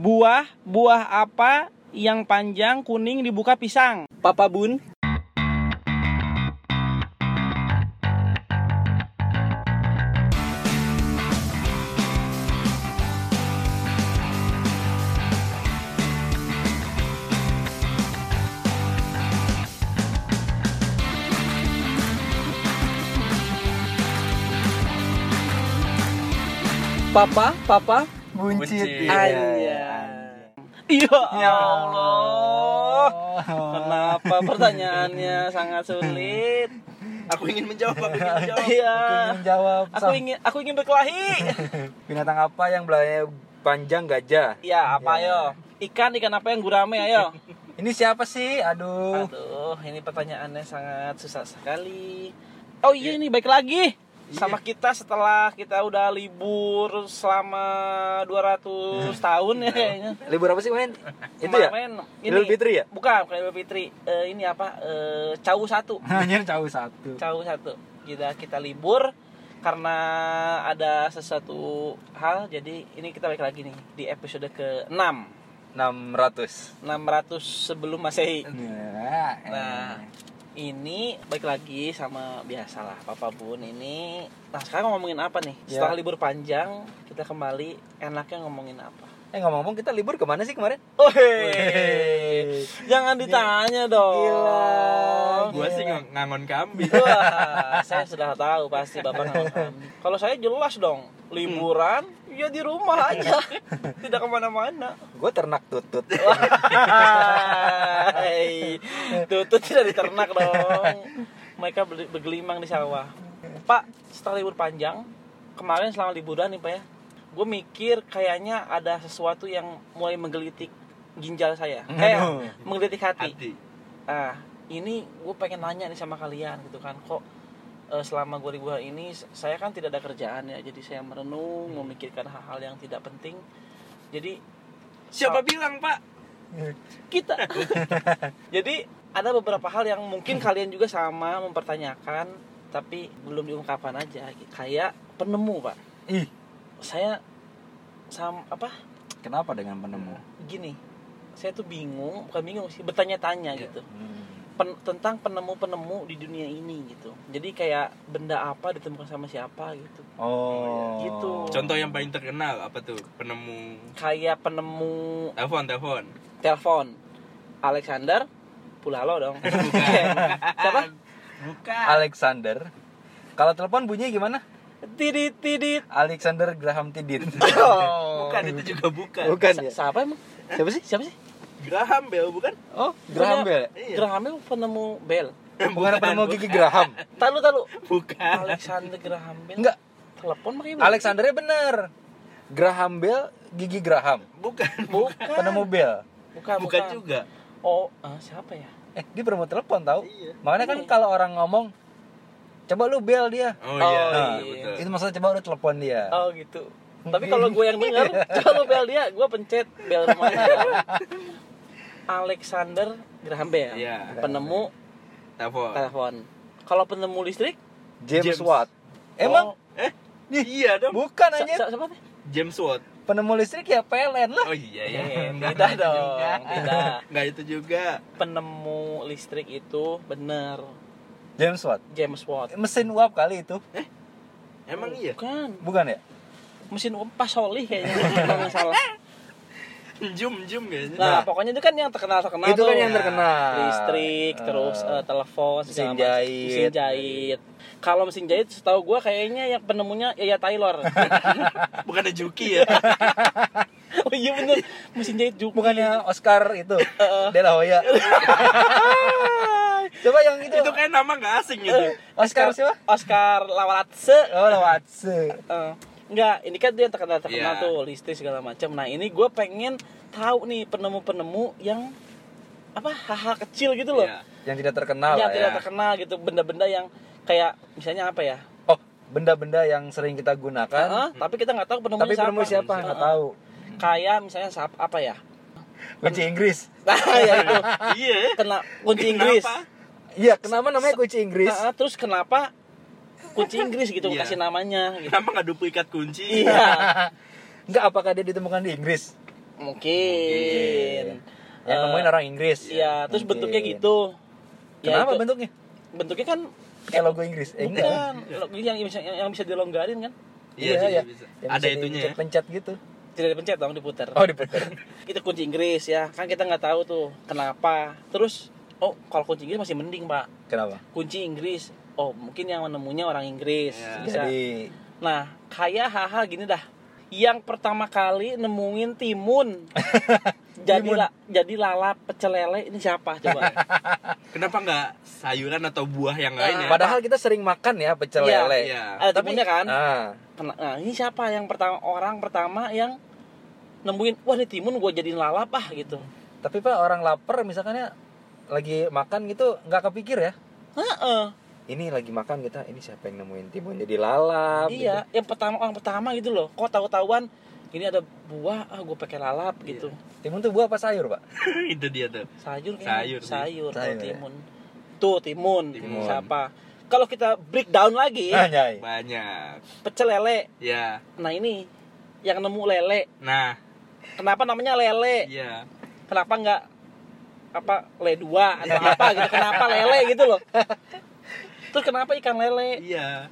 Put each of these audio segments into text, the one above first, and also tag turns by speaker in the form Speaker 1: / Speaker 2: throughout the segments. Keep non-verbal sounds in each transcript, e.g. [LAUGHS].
Speaker 1: Buah, buah apa yang panjang kuning dibuka pisang? Papa Bun. Papa, papa,
Speaker 2: Buncit.
Speaker 3: Buncit.
Speaker 2: Iya.
Speaker 1: Anjay. Ya Allah. Kenapa pertanyaannya sangat sulit?
Speaker 3: Aku ingin menjawab, aku ingin menjawab.
Speaker 1: Iya.
Speaker 2: Aku ingin menjawab.
Speaker 1: Aku
Speaker 2: Sam.
Speaker 1: ingin aku ingin berkelahi.
Speaker 2: Binatang apa yang belahnya panjang gajah?
Speaker 1: Ya, apa
Speaker 2: Ya.
Speaker 1: yo? Ikan ikan apa yang gurame ayo?
Speaker 2: Ini siapa sih?
Speaker 1: Ah.
Speaker 2: Aduh.
Speaker 1: Aduh, ini pertanyaannya sangat susah sekali. Oh iya ini baik lagi. Sama kita setelah kita udah libur selama 200 tahun ya kayaknya.
Speaker 2: Libur apa sih, Men? Itu ya?
Speaker 1: Kemarin ini
Speaker 2: Idul Fitri ya?
Speaker 1: Bukan, bukan Idul Fitri. Eh, ini apa? Eh, cau satu.
Speaker 2: Anjir jauh satu.
Speaker 1: Cau satu. Kita kita libur karena ada sesuatu hal jadi ini kita balik lagi nih di episode ke-6 600
Speaker 2: 600.
Speaker 1: sebelum Masehi.
Speaker 2: Nah,
Speaker 1: Iya. Nah, ini baik lagi sama biasalah Papa Bun ini. Nah, sekarang ngomongin apa nih?
Speaker 2: Ya.
Speaker 1: Setelah libur panjang, kita kembali enaknya ngomongin apa?
Speaker 2: eh ngomong-ngomong kita libur kemana sih kemarin?
Speaker 1: Oh,
Speaker 2: Wih.
Speaker 1: Jangan ditanya dong.
Speaker 2: Gila,
Speaker 3: Gua sih ng- ngangon kambing.
Speaker 1: Wah, saya sudah tahu pasti Bapak nggak paham. Kalau saya jelas dong, liburan ya di rumah aja, tidak kemana-mana.
Speaker 2: Gue ternak tutut.
Speaker 1: Eh, Wahai, tutut tidak diternak dong. Mereka beli- bergelimang di sawah. Pak, setelah libur panjang, kemarin selama liburan nih Pak ya, gue mikir kayaknya ada sesuatu yang mulai menggelitik ginjal saya. Kayak
Speaker 2: [LAUGHS] Aduh.
Speaker 1: menggelitik hati.
Speaker 3: Hati.
Speaker 1: Nah, ini gue pengen nanya nih sama kalian gitu kan kok eh, selama gue liburan ini s- saya kan tidak ada kerjaan ya jadi saya merenung memikirkan hal-hal yang tidak penting jadi
Speaker 3: Siapa bilang, Pak?
Speaker 1: kita [LAUGHS] jadi ada beberapa hal yang mungkin kalian juga sama mempertanyakan tapi belum diungkapkan aja kayak penemu pak
Speaker 2: Ih,
Speaker 1: saya sam apa
Speaker 2: kenapa dengan penemu?
Speaker 1: gini saya tuh bingung bukan bingung sih bertanya-tanya
Speaker 3: Iya.
Speaker 1: gitu pen- tentang penemu-penemu di dunia ini gitu. Jadi kayak benda apa ditemukan sama siapa gitu.
Speaker 2: Oh,
Speaker 1: Gitu.
Speaker 3: Contoh yang paling terkenal apa tuh? Penemu
Speaker 1: Kayak penemu
Speaker 3: telepon, telepon.
Speaker 1: telepon Alexander Pulalo dong. [LAUGHS]
Speaker 3: Bukan.
Speaker 1: Siapa?
Speaker 3: Bukan.
Speaker 2: Alexander. Kalau telepon bunyinya gimana?
Speaker 1: Tidit tidit.
Speaker 2: Alexander Graham
Speaker 3: [LAUGHS]
Speaker 2: Tidit.
Speaker 3: Oh. Bukan Ah, itu juga bukan.
Speaker 2: Bukan
Speaker 1: Sa-
Speaker 2: ya?
Speaker 1: Siapa emang?
Speaker 2: Siapa sih?
Speaker 1: Siapa sih?
Speaker 3: Graham Bell bukan?
Speaker 1: Oh, punya-
Speaker 2: Graham Bell.
Speaker 3: Iya.
Speaker 1: Graham Bell penemu Bell.
Speaker 2: Bukan penemu gigi Graham.
Speaker 1: Talu
Speaker 2: [LAUGHS]
Speaker 1: talu.
Speaker 3: Bukan.
Speaker 1: Alexander Graham Bell.
Speaker 2: Enggak,
Speaker 1: Telepon pakai Bell.
Speaker 2: Alexandernya bener. Graham Bell, gigi Graham.
Speaker 3: Bukan.
Speaker 1: Bukan.
Speaker 2: Penemu Bell.
Speaker 1: Bukan,
Speaker 3: Bukan juga.
Speaker 1: Oh, ah, siapa ya?
Speaker 2: Eh, dia penemu telepon tahu?
Speaker 3: Iya.
Speaker 2: Makanya kan
Speaker 1: Iya.
Speaker 2: kalau orang ngomong, coba lu Bell dia.
Speaker 1: Oh,
Speaker 3: Oh, iya,
Speaker 1: iya.
Speaker 3: iya, betul.
Speaker 2: Itu maksudnya coba lu telepon dia.
Speaker 1: Oh gitu. Tapi kalau gue yang denger, kalau bel dia, gue pencet bel rumahnya. Alexander Graham Bell,
Speaker 3: Iya.
Speaker 1: penemu
Speaker 3: Telepon.
Speaker 1: telepon. Kalau penemu listrik,
Speaker 2: James,
Speaker 3: James.
Speaker 2: Watt. Emang
Speaker 1: oh,
Speaker 3: Eh, iya dong.
Speaker 2: bukan
Speaker 1: sa-
Speaker 2: aja.
Speaker 1: sa- siapa tuh?
Speaker 3: James Watt.
Speaker 2: Penemu listrik ya PLN lah.
Speaker 3: Oh iya ya.
Speaker 1: Eh,
Speaker 3: Nggak
Speaker 1: tidak
Speaker 3: itu
Speaker 1: dong,
Speaker 3: juga.
Speaker 1: tidak.
Speaker 3: Nggak itu juga.
Speaker 1: penemu listrik itu bener
Speaker 2: James Watt.
Speaker 1: James Watt.
Speaker 2: Mesin uap kali itu,
Speaker 3: Emang iya.
Speaker 1: Bukan,
Speaker 2: bukan ya?
Speaker 1: mesin umpas solih kayaknya kalau nggak salah.
Speaker 3: Jum jum kayaknya.
Speaker 1: Nah,
Speaker 2: Nah.
Speaker 1: pokoknya itu kan yang terkenal terkenal
Speaker 2: itu
Speaker 1: tuh.
Speaker 2: kan
Speaker 1: Nah,
Speaker 2: yang terkenal.
Speaker 1: listrik
Speaker 2: Eh,
Speaker 1: terus eh, telepon
Speaker 2: mesin
Speaker 1: segala macam.
Speaker 2: jahit.
Speaker 1: mesin jahit kalau mesin jahit setahu gue kayaknya yang penemunya Yaya
Speaker 2: [LAUGHS]
Speaker 1: Taylor
Speaker 3: Bukan ada Juki ya.
Speaker 1: oh iya bener mesin jahit juga
Speaker 2: bukannya Oscar itu, Dela Hoya. coba yang itu.
Speaker 3: itu kan- kayak nama nggak asing
Speaker 1: Eh,
Speaker 3: gitu.
Speaker 2: Oscar siapa?
Speaker 1: Oscar Lawalatse
Speaker 2: Oh, lewat se.
Speaker 1: Eh, Enggak, ini kan dia yang terkenal terkenal
Speaker 3: Iya.
Speaker 1: tuh listrik segala macam. Nah ini gue pengen tahu nih penemu-penemu yang apa hal-hal kecil gitu loh,
Speaker 3: Iya.
Speaker 2: Yang tidak terkenal
Speaker 1: yang
Speaker 2: lah
Speaker 1: tidak
Speaker 2: ya.
Speaker 1: terkenal gitu, benda-benda yang kayak misalnya apa ya?
Speaker 2: Oh, benda-benda yang sering kita gunakan,
Speaker 1: Heeh, tapi kita nggak tahu penemunya
Speaker 2: Kan? tapi penemu siapa
Speaker 1: Heeh.
Speaker 2: nggak tahu.
Speaker 1: kayak misalnya sap apa ya [LAUGHS]
Speaker 2: Kunci Inggris.
Speaker 1: nah ya itu
Speaker 3: Iya.
Speaker 1: kena kunci
Speaker 3: Kenapa?
Speaker 1: Inggris
Speaker 2: Iya, kenapa namanya kunci Inggris?
Speaker 1: Nah, terus kenapa kunci Inggris gitu
Speaker 3: Iya.
Speaker 1: kasih namanya gitu
Speaker 3: [LAUGHS] Kenapa nggak duplikat kunci?
Speaker 2: [LAUGHS]
Speaker 1: iya
Speaker 2: Enggak, apakah dia ditemukan di Inggris?
Speaker 1: Mungkin.
Speaker 2: Yang
Speaker 1: Eh,
Speaker 2: nemuin orang Inggris.
Speaker 1: Iya, terus
Speaker 2: Mungkin.
Speaker 1: bentuknya gitu. Ya,
Speaker 2: Kenapa
Speaker 1: itu-
Speaker 2: bentuknya?
Speaker 1: Bentuknya kan
Speaker 2: Kayak logo Inggris. Eh, enggak.
Speaker 1: bukan lo- yang, yang, bisa- yang bisa dilonggarin kan?
Speaker 3: Iya,
Speaker 2: Iya,
Speaker 3: sih,
Speaker 2: iya.
Speaker 3: bisa.
Speaker 2: Yang
Speaker 3: Ada
Speaker 2: bisa
Speaker 3: itunya ya.
Speaker 2: Pencet gitu.
Speaker 1: Tidak dipencet dong diputer.
Speaker 2: Oh, diputar.
Speaker 1: Itu kunci Inggris ya. Kan kita nggak tahu tuh kenapa. Terus oh, kalau kunci Inggris masih mending, Pak.
Speaker 2: [LAUGHS] Kenapa?
Speaker 1: Kunci Inggris. Oh, mungkin yang menemunya orang Inggris.
Speaker 3: Ya.
Speaker 1: Bisa.
Speaker 2: Iya. Jadi
Speaker 1: Nah, kayak hal-hal gini dah. Yang pertama kali nemuin
Speaker 2: [LAUGHS]
Speaker 1: timun. jadi
Speaker 2: Timun.
Speaker 1: la- jadi lalap pecelele ini siapa
Speaker 2: [LAUGHS]
Speaker 1: coba? Eh,
Speaker 3: Kenapa nggak sayuran atau buah yang lain ya?
Speaker 2: padahal kita sering makan ya pecel
Speaker 1: Iya,
Speaker 2: lele.
Speaker 3: iya.
Speaker 1: Ada timunnya kan?
Speaker 2: Ah,
Speaker 1: Kena- Nah, ini siapa yang pertama orang pertama yang nemuin wah ini timun gue jadiin lalap ah gitu.
Speaker 2: tapi Pak orang lapar misalkannya lagi makan gitu nggak kepikir ya.
Speaker 1: Heeh.
Speaker 2: Ini lagi makan kita, ini siapa yang nemuin timun jadi lalap. gitu.
Speaker 1: Iya, yang pertama orang pertama gitu loh. Kok tahu-tahuan ini ada buah ah gue pakai lalap gitu.
Speaker 2: gitu. Timun tuh buah apa sayur, Pak?
Speaker 3: [LAUGHS] itu dia tuh.
Speaker 1: Sayur kayaknya.
Speaker 3: Sayur sih.
Speaker 1: sayur, kalau
Speaker 2: Sayur, ya.
Speaker 1: timun. Tuh timun,
Speaker 3: Timun.
Speaker 1: siapa? Kalau kita breakdown lagi, ya,
Speaker 2: Ah, nyai.
Speaker 3: Banyak.
Speaker 1: pecel lele.
Speaker 3: Ya.
Speaker 1: Nah, ini yang nemu lele.
Speaker 3: Nah,
Speaker 1: Kenapa namanya lele?
Speaker 3: iya.
Speaker 1: Kenapa nggak apa le dua atau apa gitu? Kenapa lele gitu loh? Terus kenapa ikan lele?
Speaker 3: Iya.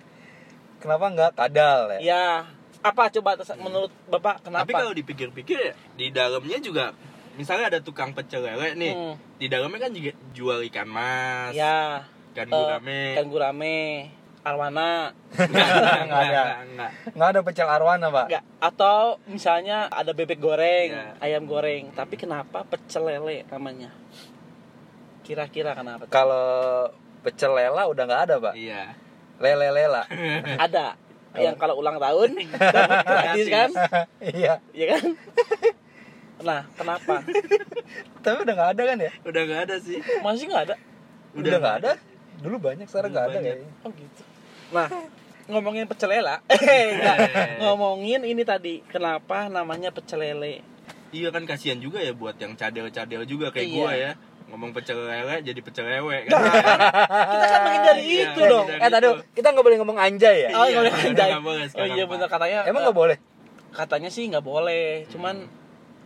Speaker 2: Kenapa nggak kadal ya?
Speaker 1: Ya, apa coba tes- menurut Bapak kenapa?
Speaker 3: Tapi kalau dipikir-pikir ya, di dalamnya juga misalnya ada tukang pecel lele nih.
Speaker 1: Hmm.
Speaker 3: Di dalamnya kan juga jual ikan mas,
Speaker 1: ya,
Speaker 3: ikan
Speaker 1: eh,
Speaker 3: gurame.
Speaker 1: ikan
Speaker 3: [LAUGHS]
Speaker 1: gurame, arwana,
Speaker 3: Enggak, enggak,
Speaker 2: Nggak ada.
Speaker 3: enggak, enggak.
Speaker 2: Nggak ada pecel arwana, Pak.
Speaker 1: Enggak. Atau misalnya ada bebek goreng,
Speaker 3: Iya.
Speaker 1: ayam goreng, tapi kenapa pecel lele namanya? Kira-kira kenapa?
Speaker 2: Kalau pecel lela udah nggak ada, Pak.
Speaker 3: Iya.
Speaker 2: Lele lela.
Speaker 3: Eh.
Speaker 1: Ada yang kalau ulang
Speaker 3: [LAUGHS]
Speaker 1: tahun dapat gratis kan?
Speaker 2: [LAUGHS] iya.
Speaker 1: Iya kan? [LAUGHS] Nah, kenapa?
Speaker 2: Tapi udah nggak ada kan ya?
Speaker 3: Udah enggak ada sih.
Speaker 1: Masih nggak ada?
Speaker 2: Udah nggak ada. Dulu banyak, sekarang
Speaker 3: Dulu
Speaker 2: nggak ada ya.
Speaker 3: banyak.
Speaker 2: kayaknya.
Speaker 1: Oh gitu. Nah, ngomongin pecel lele, [LAUGHS] eh, enggak. ngomongin ini tadi kenapa namanya pecel
Speaker 3: [LAUGHS]
Speaker 1: lele?
Speaker 3: Iya kan kasihan juga ya buat yang cadel-cadel juga kayak
Speaker 1: Iya.
Speaker 3: gua ya. Ngomong pecel lele jadi pecel lewe kan.
Speaker 1: Kita kan menghindari
Speaker 3: Iya,
Speaker 1: itu dong.
Speaker 3: menghindari.
Speaker 2: Eh, tadi kita nggak boleh ngomong anjay ya?
Speaker 1: Oh, nggak boleh
Speaker 3: Iya,
Speaker 1: anjay.
Speaker 3: nggak boleh
Speaker 1: Oh
Speaker 3: sekarang,
Speaker 1: iya
Speaker 3: Pak.
Speaker 1: bener katanya.
Speaker 2: Emang
Speaker 1: eh,
Speaker 2: nggak boleh?
Speaker 1: katanya sih nggak boleh cuman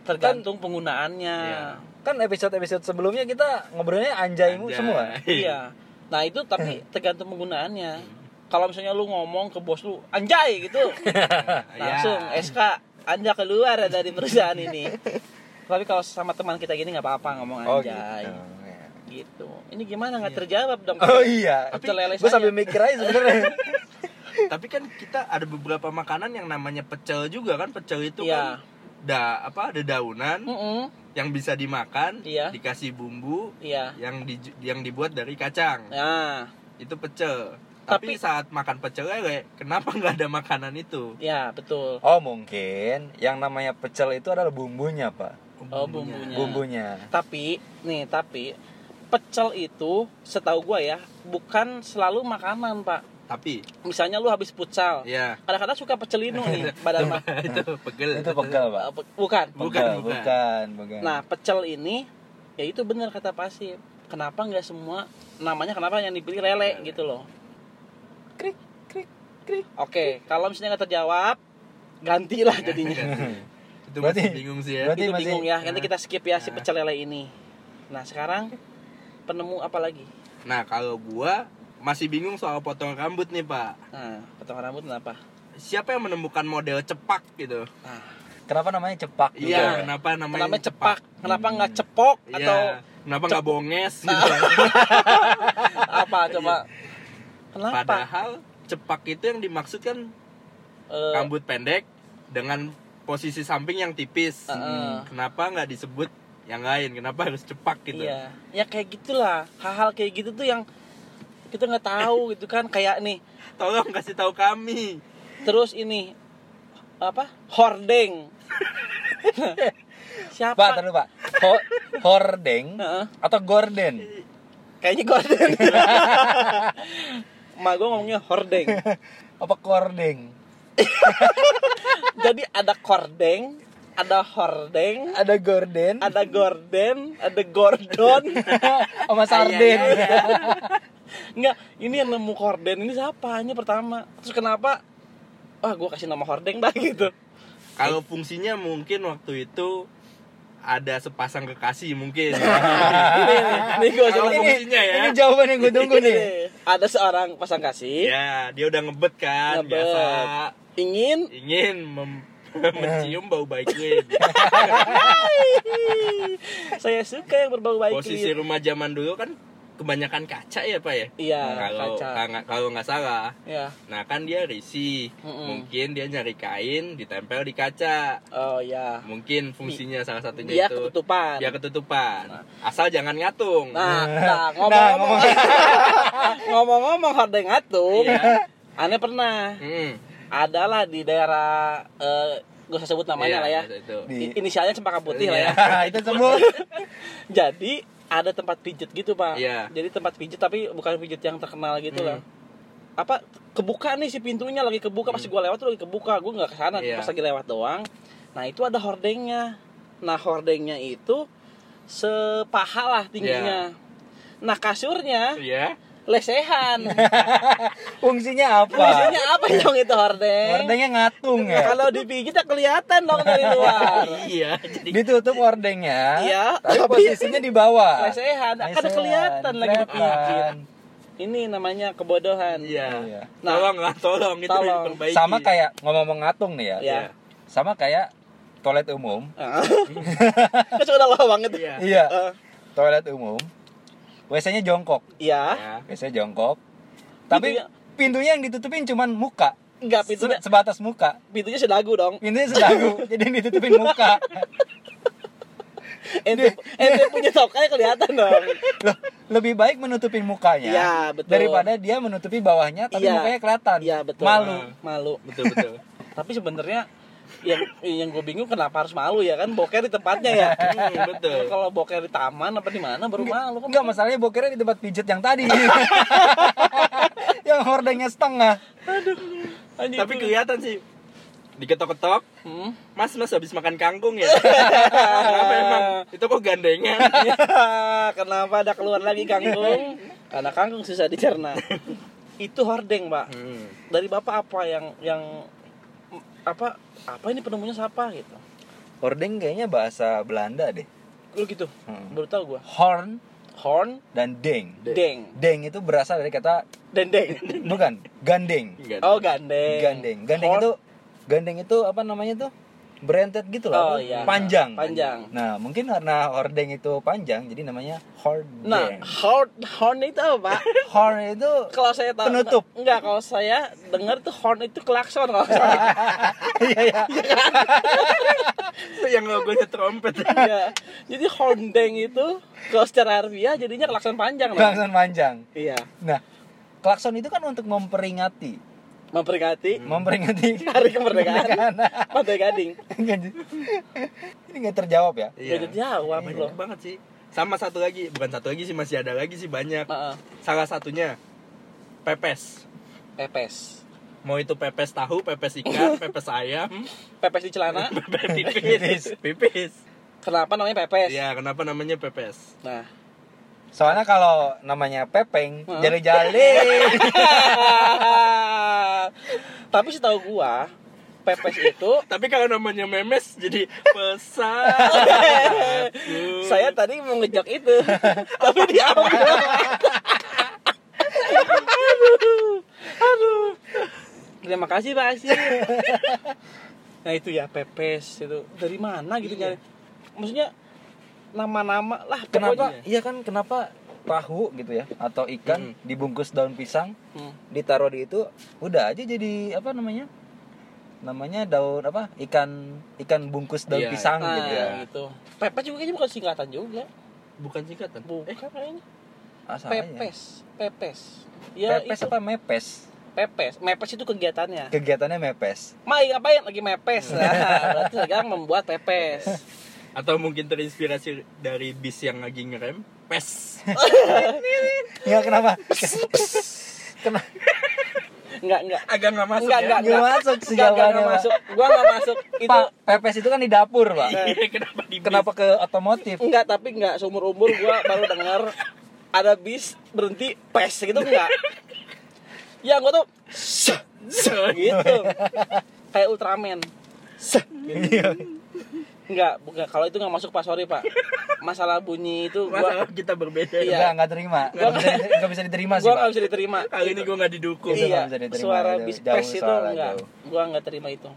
Speaker 2: Hmm.
Speaker 1: tergantung penggunaannya
Speaker 3: Iya.
Speaker 2: Kan episode-episode sebelumnya kita ngobrolnya anjay mu
Speaker 3: Anjay.
Speaker 2: semua. [LAUGHS]
Speaker 1: iya nah itu tapi tergantung penggunaannya
Speaker 2: Hmm.
Speaker 1: kalau misalnya lu ngomong ke bos lu anjay
Speaker 2: [LAUGHS]
Speaker 1: gitu [LAUGHS]
Speaker 2: Iya.
Speaker 1: langsung eh,
Speaker 3: Ya.
Speaker 1: SK anda keluar dari perusahaan
Speaker 2: [LAUGHS]
Speaker 1: ini tapi kalau sama teman kita gini nggak apa-apa ngomong
Speaker 2: Oh, gitu.
Speaker 1: anjay gitu. ini gimana nggak terjawab dong
Speaker 2: Oh iya.
Speaker 1: Tapi- Pecel lele
Speaker 2: Gue sambil
Speaker 1: saya.
Speaker 2: mikir aja sebenarnya.
Speaker 3: Tapi kan kita ada beberapa makanan yang namanya pecel juga kan. Pecel itu
Speaker 1: Iya.
Speaker 3: kan da apa ada daunan
Speaker 1: Mm-mm.
Speaker 3: yang bisa dimakan,
Speaker 1: Iya.
Speaker 3: dikasih bumbu
Speaker 1: iya
Speaker 3: yang di, yang dibuat dari kacang.
Speaker 1: nah
Speaker 3: Itu pecel.
Speaker 1: Tapi-
Speaker 3: Tapi, saat makan pecel lele, kenapa nggak ada makanan itu?
Speaker 1: ya betul
Speaker 2: Oh mungkin yang namanya pecel itu adalah bumbunya pak.
Speaker 1: Oh,
Speaker 3: Iya.
Speaker 1: bumbunya.
Speaker 2: Bumbunya.
Speaker 1: tapi nih tapi pecel itu setahu gua ya bukan selalu makanan pak
Speaker 3: Tapi
Speaker 1: misalnya lu habis futsal
Speaker 3: ya
Speaker 1: kadang-kadang suka pecelinu
Speaker 2: [LAUGHS]
Speaker 1: nih badan mah
Speaker 2: Iya.
Speaker 3: itu pegel.
Speaker 2: Itu pegel pak.
Speaker 1: Eh, pe- bukan
Speaker 3: Bukan,
Speaker 2: Pegel,
Speaker 3: bukan.
Speaker 2: bukan, bukan.
Speaker 1: nah pecel ini ya itu benar kata pasif kenapa nggak semua namanya kenapa yang dipilih
Speaker 2: Iya,
Speaker 1: lele
Speaker 3: Lele.
Speaker 1: gitu loh
Speaker 2: Krik, krik, krik.
Speaker 1: oke kalau misalnya nggak terjawab
Speaker 2: [LAUGHS]
Speaker 1: gantilah jadinya
Speaker 3: Itu masih
Speaker 2: Berarti-
Speaker 3: bingung sih ya.
Speaker 2: berarti
Speaker 1: itu
Speaker 2: masih- Iya.
Speaker 1: bingung ya nanti kita skip ya si
Speaker 3: Ah.
Speaker 1: pecel lele ini nah sekarang penemu apa lagi
Speaker 3: Nah, kalau gua masih bingung soal potong rambut nih, Pak.
Speaker 1: nah potongan rambut kenapa
Speaker 3: Siapa yang menemukan model cepak gitu?
Speaker 1: nah
Speaker 2: [LAUGHS] Kenapa namanya cepak? juga, ya?
Speaker 3: Iya, kenapa namanya,
Speaker 1: namanya cepak kenapa
Speaker 2: Hmm.
Speaker 1: nggak cepok
Speaker 3: Iya.
Speaker 1: atau cep-
Speaker 3: kenapa
Speaker 1: Nah.
Speaker 3: nggak bonges gitu?
Speaker 1: [LAUGHS]
Speaker 3: [LAUGHS]
Speaker 1: apa coba kenapa
Speaker 3: Padahal cepak itu yang dimaksudkan
Speaker 1: Eh,
Speaker 3: rambut pendek dengan posisi samping yang tipis. Hmm,
Speaker 1: Heeh.
Speaker 3: Kenapa nggak disebut yang lain? Kenapa harus cepak gitu?
Speaker 1: iya ya kayak gitulah hal-hal kayak gitu tuh yang kita nggak tahu
Speaker 3: [LAUGHS]
Speaker 1: gitu kan kayak nih
Speaker 3: Tolong kasih tahu kami.
Speaker 1: terus ini apa
Speaker 3: [LAUGHS]
Speaker 1: hordeng siapa
Speaker 2: Pak, taruh pak. Ho hordeng
Speaker 1: Heeh.
Speaker 2: atau gorden?
Speaker 1: kayaknya gorden
Speaker 3: [LAUGHS]
Speaker 1: Ma gue ngomongnya hordeng
Speaker 2: Apa kordeng?
Speaker 1: Jadi ada kordeng Ada hordeng
Speaker 2: Ada gorden?
Speaker 1: Ada gorden Ada gordon
Speaker 2: [LAUGHS] Sama sarden?
Speaker 3: Iya, iya, iya.
Speaker 1: Enggak, ini yang nemu horden ini siapa? Ini pertama. Terus kenapa? Ah, Wah, gua kasih nama hordeng dah [LAUGHS] gitu.
Speaker 3: Kalau fungsinya mungkin waktu itu ada sepasang kekasih
Speaker 1: [LAUGHS] ini,
Speaker 3: mungkin.
Speaker 1: ini, ini gue
Speaker 3: Kalau
Speaker 1: ini,
Speaker 3: fungsinya ya.
Speaker 4: Ini jawaban yang gue tunggu
Speaker 3: [LAUGHS]
Speaker 2: [LAUGHS]
Speaker 4: nih.
Speaker 1: ada seorang pasang kasih
Speaker 3: Ya, dia udah ngebet kan,
Speaker 1: Ngebet.
Speaker 3: biasa
Speaker 1: ingin [LAUGHS]
Speaker 3: ingin mem- [LAUGHS] mencium bau gitu. baiklin.
Speaker 1: saya suka yang berbau baik
Speaker 3: Posisi rumah zaman dulu kan kebanyakan kaca ya, Pak ya?
Speaker 1: iya
Speaker 3: Kalau
Speaker 1: kaca
Speaker 3: kalau- kalau nggak salah.
Speaker 1: ya
Speaker 3: Nah, kan dia risih.
Speaker 1: Mm-mm.
Speaker 3: Mungkin dia nyari kain ditempel di kaca.
Speaker 1: oh ya
Speaker 3: Mungkin fungsinya salah satunya
Speaker 1: dia
Speaker 3: itu
Speaker 1: ketutupan
Speaker 3: dia ketutupan. Asal jangan ngatung.
Speaker 1: nah, nah ngomong-ngomong [LAUGHS] ngomong-ngomong hordeng atung [LAUGHS]
Speaker 3: Iya.
Speaker 1: aneh pernah
Speaker 3: Hmm.
Speaker 1: adalah di daerah eh gue usah sebut namanya
Speaker 3: Iya,
Speaker 1: lah ya
Speaker 3: masa itu.
Speaker 1: I- inisialnya cempaka putih lah ya
Speaker 4: itu sembuh.
Speaker 1: jadi ada tempat pijet gitu pak
Speaker 3: Iya.
Speaker 1: jadi tempat pijet tapi bukan pijet yang terkenal gitu
Speaker 3: Hmm.
Speaker 1: lah apa kebuka nih si pintunya lagi kebuka pas gue lewat tuh lagi kebuka gue nggak kesana
Speaker 3: Hmm. Iya.
Speaker 1: pas lagi lewat doang nah itu ada hordengnya nah hordengnya itu sepaha lah tingginya nah kasurnya
Speaker 3: Iya. [LAUGHS]
Speaker 1: lesehan
Speaker 4: Fungsinya apa?
Speaker 1: fungsinya apa dong itu hordeng
Speaker 4: Ordengnya ngatung ya.
Speaker 1: kalau dipijit ya kelihatan dong dari luar
Speaker 3: Iya. Jadi
Speaker 4: Ditutup ordengnya.
Speaker 1: Iya,
Speaker 4: Tapi
Speaker 1: tapi-
Speaker 4: posisinya di bawah.
Speaker 1: lesehan kan
Speaker 4: Lesehan,
Speaker 1: kelihatan lagi dipijit
Speaker 4: kelihatan.
Speaker 1: ini namanya kebodohan
Speaker 3: iya.
Speaker 4: Iya.
Speaker 1: Nah.
Speaker 3: tolong lah, tolong itu
Speaker 1: Tolong.
Speaker 3: diperbaiki.
Speaker 2: sama kayak ngomong-ngomong ngatung nih ya,
Speaker 1: Iya.
Speaker 2: sama kayak toilet umum
Speaker 1: [LAUGHS] kan sudah lawang itu
Speaker 3: Iya.
Speaker 2: iya
Speaker 1: Eh,
Speaker 2: toilet umum wc nya jongkok
Speaker 1: iya
Speaker 3: Ya.
Speaker 2: wc jongkok tapi
Speaker 1: Pintunya-
Speaker 2: pintunya yang ditutupin cuman muka
Speaker 1: enggak pintunya
Speaker 2: Se- sebatas muka
Speaker 1: pintunya sedagu dong
Speaker 2: pintunya sedagu [LAUGHS] jadi yang ditutupin muka
Speaker 1: ente ente punya tokanya kelihatan dong
Speaker 2: Loh, lebih baik menutupin mukanya
Speaker 1: Iya, betul.
Speaker 2: daripada dia menutupi bawahnya tapi
Speaker 1: Iya.
Speaker 2: mukanya kelihatan
Speaker 1: iya betul
Speaker 2: malu
Speaker 1: malu
Speaker 3: Betul
Speaker 1: [LAUGHS]
Speaker 3: betul.
Speaker 1: tapi sebenarnya yang yang gue bingung kenapa harus malu ya kan boker di tempatnya ya
Speaker 3: Hmm, betul.
Speaker 1: kalau boker di taman apa di mana baru malu kan
Speaker 2: Enggak masalahnya bokernya di tempat pijet
Speaker 1: [LAUGHS]
Speaker 2: yang tadi yang hordengnya setengah
Speaker 1: Anjing,
Speaker 3: Tapi
Speaker 1: itu-
Speaker 3: kelihatan sih diketok-ketok
Speaker 1: Hmm?
Speaker 3: Mas, mas habis makan kangkung [LAUGHS] ya? Kenapa emang? Itu kok gandengan?
Speaker 1: Iya. [LAUGHS] kenapa ada keluar lagi kangkung karena kangkung susah dicerna itu hordeng pak
Speaker 3: Hmm.
Speaker 1: dari bapak apa yang yang m- apa apa ini penemunya siapa gitu
Speaker 2: hordeng kayaknya bahasa Belanda deh
Speaker 1: lu gitu
Speaker 2: Hmm.
Speaker 1: baru tahu gua
Speaker 2: horn
Speaker 1: horn
Speaker 2: dan deng
Speaker 1: deng
Speaker 2: deng itu berasal dari kata
Speaker 1: dendeng
Speaker 2: bukan gandeng
Speaker 1: oh gandeng
Speaker 2: gandeng gandeng
Speaker 1: Horn.
Speaker 2: itu gandeng itu apa namanya tuh berentet gitu
Speaker 1: Oh,
Speaker 2: loh apa?
Speaker 1: iya.
Speaker 2: panjang
Speaker 1: Panjang.
Speaker 2: nah mungkin karena hordeng itu panjang jadi namanya hordeng
Speaker 1: nah horn horn itu apa
Speaker 2: [LAUGHS]
Speaker 1: pak
Speaker 2: horn itu
Speaker 1: kalau saya tahu
Speaker 2: Penutup.
Speaker 1: enggak kalau saya dengar tuh horn itu klakson kalau
Speaker 2: [LAUGHS]
Speaker 1: saya
Speaker 2: iya iya
Speaker 3: Itu [LAUGHS] yang logonya trompet.
Speaker 1: Iya. jadi hordeng itu kalau secara harfiah jadinya klakson panjang Pak.
Speaker 2: klakson panjang
Speaker 1: iya
Speaker 2: nah klakson itu kan untuk memperingati
Speaker 1: memperingati
Speaker 2: Hmm. memperingati
Speaker 1: Hmm. [LAUGHS] hari kemerdekaan
Speaker 2: Nah,
Speaker 1: Pantai Gading
Speaker 2: [LAUGHS] ini nggak terjawab ya
Speaker 1: Gak
Speaker 3: Iya.
Speaker 1: jawab loh
Speaker 3: Banyak banget sih. Sama satu lagi, bukan satu lagi sih, masih ada lagi sih banyak.
Speaker 1: Heeh.
Speaker 3: Salah satunya pepes.
Speaker 1: pepes
Speaker 3: Mau itu pepes tahu, pepes [LAUGHS] ikan, pepes ayam,
Speaker 1: pepes di
Speaker 2: [LAUGHS]
Speaker 1: celana
Speaker 3: pepes Hmm. pipis, pipis.
Speaker 1: kenapa namanya pepes
Speaker 3: Iya, kenapa namanya pepes?
Speaker 1: nah [LAUGHS]
Speaker 2: soalnya kalau namanya pepeng
Speaker 1: Hah? [LAUGHS]
Speaker 2: jali-jali
Speaker 1: tapi setahu gua pepes itu
Speaker 3: Tapi kalau namanya memes jadi pesan. [LAUGHS]
Speaker 1: saya tadi mau ngejok itu [LAUGHS] tapi diambil aduh aduh terima kasih pak Asir nah itu ya pepes itu dari mana gitu nyari maksudnya nama-nama lah
Speaker 2: kenapa
Speaker 1: pokoknya.
Speaker 2: iya kan kenapa tahu gitu ya atau ikan
Speaker 3: Hmm.
Speaker 2: dibungkus daun pisang
Speaker 1: Hmm.
Speaker 2: ditaruh di itu udah aja jadi apa namanya namanya daun apa ikan ikan bungkus daun
Speaker 3: Iya,
Speaker 2: pisang
Speaker 1: Nah,
Speaker 2: gitu ya
Speaker 1: gitu. Pepes juga kayaknya bukan singkatan juga.
Speaker 3: Bukan singkatan.
Speaker 1: Bukan kayaknya.
Speaker 2: asalnya
Speaker 1: Pepes, pepes. Ya
Speaker 2: pepes
Speaker 1: itu
Speaker 2: apa mepes
Speaker 1: pepes. Mepes itu kegiatannya.
Speaker 2: kegiatannya mepes
Speaker 1: Mai ngapain lagi
Speaker 2: [LAUGHS]
Speaker 1: mepes. Nah, berarti sekarang membuat pepes.
Speaker 3: Atau mungkin terinspirasi dari bis yang lagi ngerem, pes.
Speaker 2: ya
Speaker 1: [LAUGHS]
Speaker 2: kenapa kenapa
Speaker 1: Enggak, enggak.
Speaker 3: Agak nggak masuk
Speaker 1: Enggak,
Speaker 3: ya.
Speaker 1: enggak,
Speaker 2: nggak masuk sih
Speaker 1: Enggak, enggak, enggak
Speaker 2: jawabannya, Pak.
Speaker 1: masuk. Gua enggak masuk. Itu
Speaker 2: pak pepes itu kan di dapur pak
Speaker 3: Iya, kenapa di bis?
Speaker 2: kenapa ke otomotif
Speaker 1: enggak, tapi enggak seumur umur gua baru dengar ada bis berhenti pes gitu enggak. Ya gua tuh "Sah, sah," gitu. Kayak Ultraman. Sah, gitu. Enggak, enggak. Kalau itu nggak masuk pak, sorry pak. Masalah bunyi itu
Speaker 3: Masalah
Speaker 1: gua
Speaker 3: kita berbeda.
Speaker 1: Iya.
Speaker 2: Enggak, enggak terima. Enggak bisa, nggak bisa diterima sih,
Speaker 1: gua nggak
Speaker 2: Pak.
Speaker 1: bisa diterima.
Speaker 3: Kali ini gue gak didukung.
Speaker 2: Itu
Speaker 1: Iya,
Speaker 2: nggak bisa diterima,
Speaker 1: suara
Speaker 2: itu
Speaker 1: bis
Speaker 2: jauh
Speaker 1: pes itu
Speaker 2: soalnya,
Speaker 1: enggak.
Speaker 2: jauh.
Speaker 1: Gua nggak terima itu.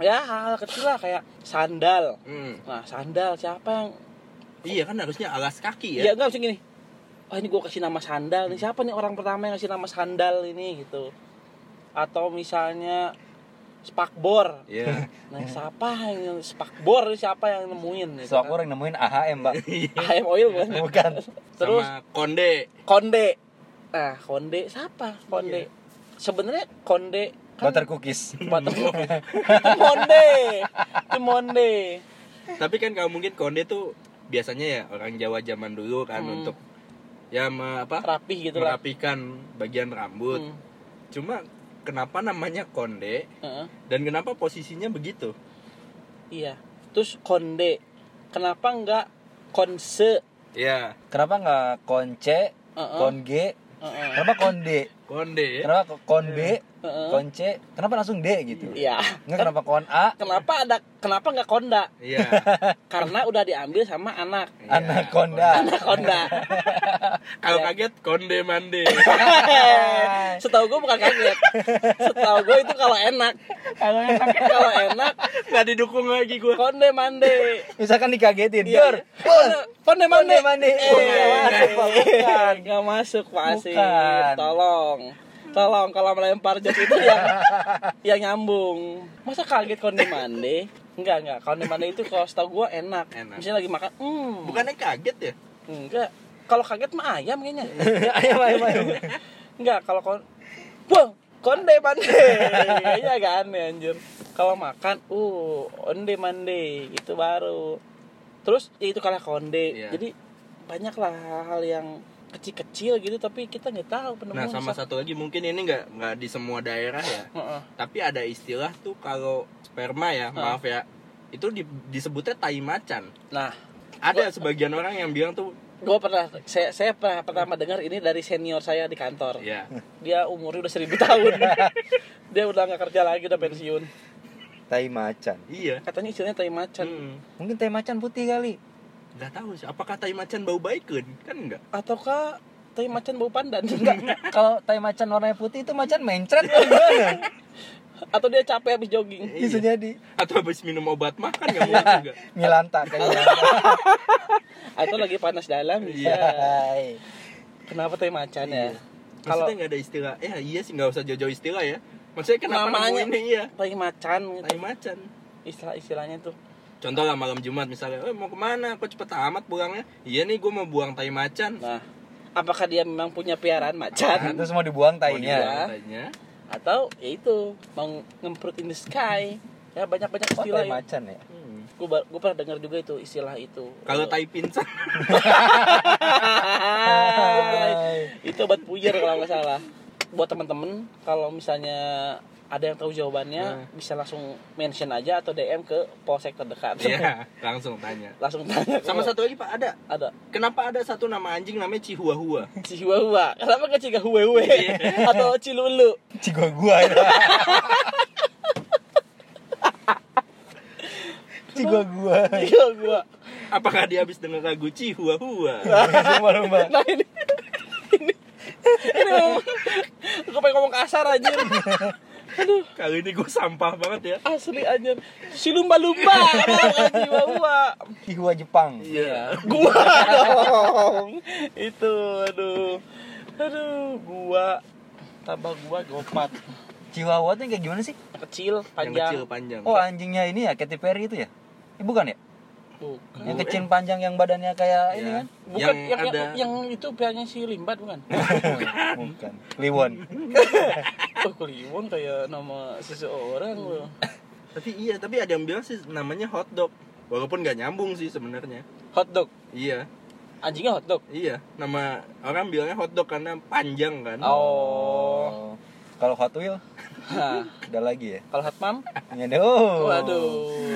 Speaker 1: Ya hal kecil lah kayak sandal.
Speaker 3: Hmm.
Speaker 1: Nah sandal siapa yang?
Speaker 3: Iya kan harusnya alas
Speaker 2: Iya.
Speaker 3: kaki
Speaker 1: Ya,
Speaker 3: ya.
Speaker 1: enggak mesti gini. Wah ini gua kasih nama sandal nih. Siapa nih orang pertama yang kasih nama sandal ini gitu? Atau misalnya spakbor.
Speaker 3: Iya.
Speaker 1: Nah
Speaker 2: Hmm.
Speaker 1: siapa yang spakbor? Siapa yang nemuin? gitu
Speaker 2: Soal
Speaker 1: kan?
Speaker 2: orang nemuin AHM,
Speaker 1: [LAUGHS]
Speaker 2: Pak.
Speaker 1: AM oil
Speaker 2: [LAUGHS]
Speaker 1: bukan?
Speaker 2: Bukan.
Speaker 1: Terus
Speaker 3: Iya. Sama konde.
Speaker 1: konde. Nah, konde siapa? Konde. Sebenarnya konde kan
Speaker 2: Iya. Butter cookies.
Speaker 1: butter cookie.
Speaker 2: [LAUGHS]
Speaker 1: Monde. Itu monde.
Speaker 3: Tapi kan kalau mungkin konde tuh biasanya ya orang Jawa zaman dulu kan
Speaker 1: Hmm.
Speaker 3: untuk ya me- apa?
Speaker 1: Rapih gitu lah.
Speaker 3: merapikan bagian rambut.
Speaker 1: Hmm.
Speaker 3: Cuma kenapa namanya konde
Speaker 1: Heeh.
Speaker 3: dan kenapa posisinya begitu?
Speaker 1: Iya. Terus konde. Kenapa enggak konse?
Speaker 3: Iya,
Speaker 2: Kenapa enggak konce,
Speaker 1: Heeh.
Speaker 2: konge?
Speaker 1: Heeh.
Speaker 2: Kenapa konde?
Speaker 3: konde. ya?
Speaker 2: Kenapa ko- kon B,
Speaker 1: Heeh.
Speaker 2: kon C? Kenapa langsung D gitu?
Speaker 1: Iya.
Speaker 2: Enggak kenapa kon A?
Speaker 1: Kenapa ada kenapa enggak konda?
Speaker 3: Iya.
Speaker 1: Karena udah diambil sama anak. [LAUGHS]
Speaker 3: Iya,
Speaker 2: Anak konda.
Speaker 1: Anak konda. [LAUGHS]
Speaker 3: Kalau kaget konde mande.
Speaker 1: Setahu gue bukan kaget. Setahu gue itu kalau enak. Kalau enak, kalau enak
Speaker 3: Nggak didukung lagi gue.
Speaker 1: konde mande.
Speaker 2: Misalkan dikagetin,
Speaker 1: Iya.
Speaker 2: Dur, bos,
Speaker 1: Konde mande.
Speaker 2: Konde mande.
Speaker 1: Eh,
Speaker 2: Bukan, bukan.
Speaker 1: Nggak masuk Pak Asif.
Speaker 2: Bukan.
Speaker 1: Tolong. Tolong kalau melempar jok itu yang yang nyambung. Masa kaget konde mande? Enggak, enggak. Konde mande itu kalau setahu gue enak.
Speaker 3: Enak.
Speaker 1: Misalnya lagi makan, hmm.
Speaker 3: Bukannya kaget ya?
Speaker 1: Enggak. Kalau kaget mah ayam kayaknya.
Speaker 2: [LAUGHS] ayo, ayo, ayo.
Speaker 1: Enggak, kalau kon Wah, konde mande.
Speaker 3: [LAUGHS]
Speaker 1: Kayaknya agak aneh anjir. Kalau makan, uh, onde mande itu baru. Terus ya itu kalah konde.
Speaker 3: Iya.
Speaker 1: Jadi banyaklah hal-hal yang kecil-kecil gitu tapi kita nggak tahu
Speaker 3: Nah,
Speaker 1: penemuan
Speaker 3: sama satu lagi mungkin ini nggak nggak di semua daerah ya.
Speaker 1: Heeh.
Speaker 3: Tapi ada istilah tuh kalau sperma ya,
Speaker 1: Ah.
Speaker 3: maaf ya. Itu di- disebutnya tai macan.
Speaker 1: Nah,
Speaker 3: Ada sebagian orang yang bilang tuh
Speaker 1: gue pernah saya saya pernah pertama dengar ini dari senior saya di kantor.
Speaker 3: ya.
Speaker 1: Dia umurnya udah seribu tahun. [LAUGHS] Dia udah nggak kerja lagi, udah pensiun.
Speaker 2: Tai macan.
Speaker 3: Iya.
Speaker 1: Katanya istilahnya tai macan
Speaker 3: Hmm.
Speaker 2: Mungkin tai macan putih kali.
Speaker 3: Nggak tahu sih apakah tai macan bau baik kan? Kan enggak.
Speaker 1: ataukah tai macan bau pandan? [LAUGHS]
Speaker 2: Kalau tai macan warnanya putih itu macan mencret atau
Speaker 1: Iya.
Speaker 2: gimana?
Speaker 1: Atau dia capek habis jogging?
Speaker 2: Bisa jadi.
Speaker 3: Atau habis minum obat makan nggak
Speaker 1: [LAUGHS]
Speaker 3: mungkin
Speaker 2: [LAUGHS]
Speaker 3: juga.
Speaker 2: Milanta kayaknya.
Speaker 1: atau lagi panas dalam
Speaker 2: Iya.
Speaker 1: bisa
Speaker 2: Hai.
Speaker 1: kenapa teh macan ya
Speaker 3: Kalau
Speaker 1: kalau
Speaker 3: nggak ada istilah, eh iya sih nggak usah jauh-jauh istilah ya. Maksudnya kenapa
Speaker 1: Namanya.
Speaker 3: namanya iya
Speaker 1: teh macan gitu.
Speaker 3: tai macan?
Speaker 1: istilah istilahnya tuh
Speaker 3: Contoh lah malam Jumat misalnya, eh mau kemana? Kok cepet amat pulangnya? Iya nih gue mau buang tai macan.
Speaker 1: nah apakah dia memang punya piaraan macan
Speaker 2: Nah, Terus mau dibuang iya.
Speaker 1: ya.
Speaker 3: Mau dibuang
Speaker 2: tainya.
Speaker 3: tainya.
Speaker 1: atau ya itu mau ngemprut in the sky ya banyak banyak
Speaker 2: Oh,
Speaker 1: istilah
Speaker 2: tai macan ya.
Speaker 3: Hmm.
Speaker 1: gue pernah dengar juga itu istilah itu [LAUGHS]
Speaker 3: Kalau tai [LAUGHS] pinsan,
Speaker 1: Hai. itu obat puyer kalau nggak salah buat teman-teman kalau misalnya ada yang tahu jawabannya bisa langsung mention aja atau dm ke polsek terdekat
Speaker 3: iya langsung tanya.
Speaker 1: [LAUGHS] langsung tanya
Speaker 3: Sama satu lagi pak ada.
Speaker 1: ada
Speaker 3: Kenapa ada satu nama anjing namanya Chihuahua?
Speaker 1: Chihuahua. Kenapa ke Chihuahua?
Speaker 3: Iya.
Speaker 1: [LAUGHS] Atau Cilulu?
Speaker 2: Cigo gua ya. itu. Cigo gua.
Speaker 1: Chihuahua.
Speaker 3: Apakah dia habis dengar lagu Chihuahua?
Speaker 2: Sumpah, sumpah.
Speaker 1: Nah ini. Ini. Ini memang. Gue pengen ngomong kasar anjir. Aduh.
Speaker 3: [LAUGHS] Kali ini gue sampah banget ya.
Speaker 1: Asli anjir. Si lumba-lumba. Kenapa bukan Chihuahua?
Speaker 2: Cihua Jepang.
Speaker 3: Iya.
Speaker 1: Gua dong. Itu. Aduh. Aduh. Gua. Tambah gua gopat.
Speaker 2: Chihuahua tuh yang kayak gimana sih?
Speaker 1: Kecil,
Speaker 3: Yang
Speaker 1: panjang.
Speaker 3: kecil panjang.
Speaker 2: Oh anjingnya ini ya Katy Perry itu ya? Eh, bukan ya?
Speaker 1: Bukan.
Speaker 2: Yang kecil panjang yang badannya kayak
Speaker 3: Iya.
Speaker 2: ini
Speaker 3: [LAUGHS]
Speaker 2: kan?
Speaker 1: Bukan yang, yang,
Speaker 3: ada
Speaker 1: yang itu pianya si Limbat
Speaker 3: [LAUGHS]
Speaker 1: bukan?
Speaker 2: Bukan. Liwon.
Speaker 1: Oh Kliwon kayak nama seseorang loh.
Speaker 3: tapi iya tapi ada yang bilang sih namanya hotdog walaupun nggak nyambung sih sebenarnya
Speaker 1: Hotdog.
Speaker 3: iya
Speaker 1: Anjingnya hotdog.
Speaker 3: iya nama orang bilangnya hotdog karena panjang kan
Speaker 1: Oh.
Speaker 2: Oh. Kalau Hot Wheel
Speaker 1: Hah.
Speaker 2: ada lagi ya?
Speaker 1: Kalau Hatmam?
Speaker 2: Ini ada. Oh.
Speaker 1: Waduh.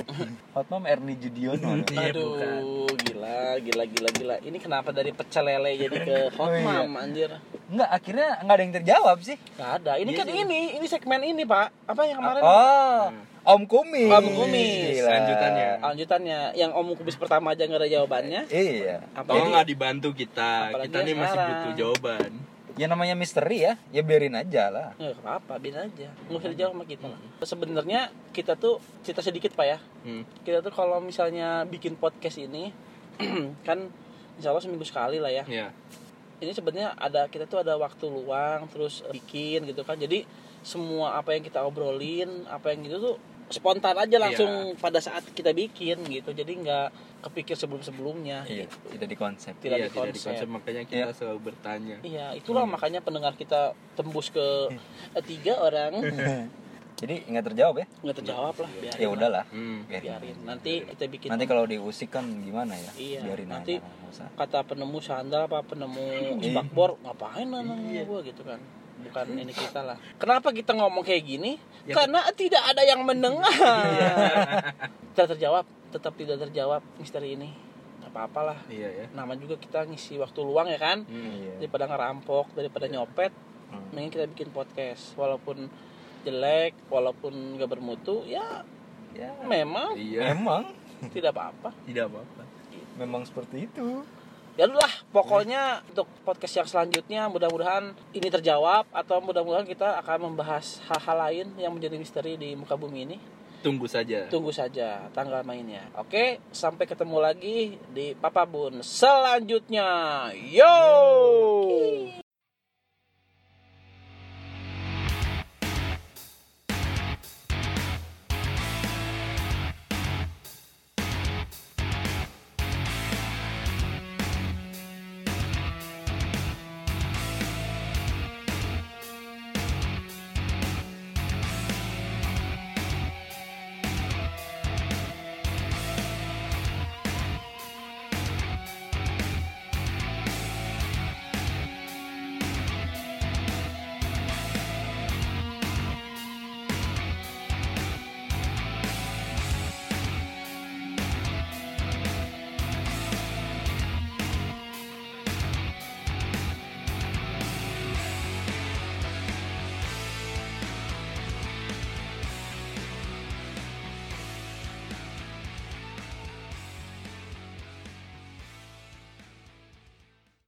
Speaker 2: Hot Mom Ernie Judiono. ada.
Speaker 3: Iya,
Speaker 1: Aduh,
Speaker 3: bukan.
Speaker 1: gila, gila, gila, gila. Ini kenapa dari pecel lele jadi ke
Speaker 2: Oh, iya.
Speaker 1: Hotmam anjir?
Speaker 2: Enggak, akhirnya enggak ada yang terjawab sih.
Speaker 1: Gak ada. Ini
Speaker 3: Iya
Speaker 1: kan
Speaker 3: sih.
Speaker 1: ini, ini segmen ini, Pak. Apa yang kemarin?
Speaker 2: Oh. Om Kumis.
Speaker 1: Om Kumis.
Speaker 2: Gila.
Speaker 3: Lanjutannya.
Speaker 1: lanjutannya yang om kubis pertama aja nggak ada jawabannya
Speaker 2: Iya.
Speaker 3: Tolong
Speaker 1: apalagi
Speaker 3: nggak dibantu kita.
Speaker 1: Apalagi
Speaker 3: Kita nih
Speaker 1: yang
Speaker 3: masih
Speaker 1: sekarang.
Speaker 3: butuh jawaban.
Speaker 2: Ya namanya misteri ya, ya biarin aja lah.
Speaker 1: nggak apa-apa biar aja nggak usah dijawab sama kita lah sebenarnya kita tuh cerita sedikit pak ya
Speaker 3: Hmm.
Speaker 1: kita tuh kalau misalnya bikin podcast ini [CLEARS THROAT] kan insya Allah seminggu sekali lah ya
Speaker 3: Ya.
Speaker 1: ini sebenarnya ada kita tuh ada waktu luang terus eh, bikin gitu kan jadi semua apa yang kita obrolin apa yang gitu tuh spontan aja langsung
Speaker 2: Iya.
Speaker 1: pada saat kita bikin gitu jadi nggak kepikir sebelum sebelumnya
Speaker 2: Iya, tidak dikonsep.
Speaker 1: Tidak
Speaker 3: Iya,
Speaker 1: dikonsep.
Speaker 3: tidak dikonsep. Makanya kita selalu bertanya.
Speaker 1: iya itulah
Speaker 2: Hmm.
Speaker 1: makanya pendengar kita tembus ke eh, tiga orang
Speaker 2: Jadi nggak terjawab ya?
Speaker 1: nggak terjawab lah biarin
Speaker 2: Hmm. Ya udahlah.
Speaker 3: Hmm.
Speaker 1: lah,
Speaker 2: Biarin.
Speaker 1: biarin nanti kita bikin
Speaker 2: Nanti kalau diusik kan gimana ya?
Speaker 1: Iya,
Speaker 2: biarin
Speaker 1: nanti-
Speaker 2: aja. nggak usah.
Speaker 1: kata penemu sandal apa penemu
Speaker 2: Iya.
Speaker 1: spakbor ngapain lah nanya gua gitu kan bukan ini kita lah kenapa kita ngomong kayak gini
Speaker 3: Ya.
Speaker 1: karena tidak ada yang
Speaker 2: Iya.
Speaker 1: mendengar tidak terjawab tetap tidak terjawab misteri ini apa apalah
Speaker 3: Iya ya.
Speaker 1: nama juga kita ngisi waktu luang ya kan
Speaker 3: Hmm.
Speaker 2: Iya.
Speaker 1: daripada ngerampok daripada nyopet
Speaker 2: Hmm.
Speaker 1: mending kita bikin podcast walaupun jelek walaupun gak bermutu ya
Speaker 2: Ya,
Speaker 1: memang
Speaker 3: Iya.
Speaker 2: Memang,
Speaker 1: tidak apa-apa
Speaker 3: Tidak apa-apa.
Speaker 2: memang seperti itu.
Speaker 1: ya udah lah, pokoknya untuk podcast yang selanjutnya mudah-mudahan ini terjawab atau mudah-mudahan kita akan membahas hal-hal lain yang menjadi misteri di muka bumi ini
Speaker 3: Tunggu saja.
Speaker 1: tunggu saja tanggal mainnya oke sampai ketemu lagi di Papa Bun selanjutnya yo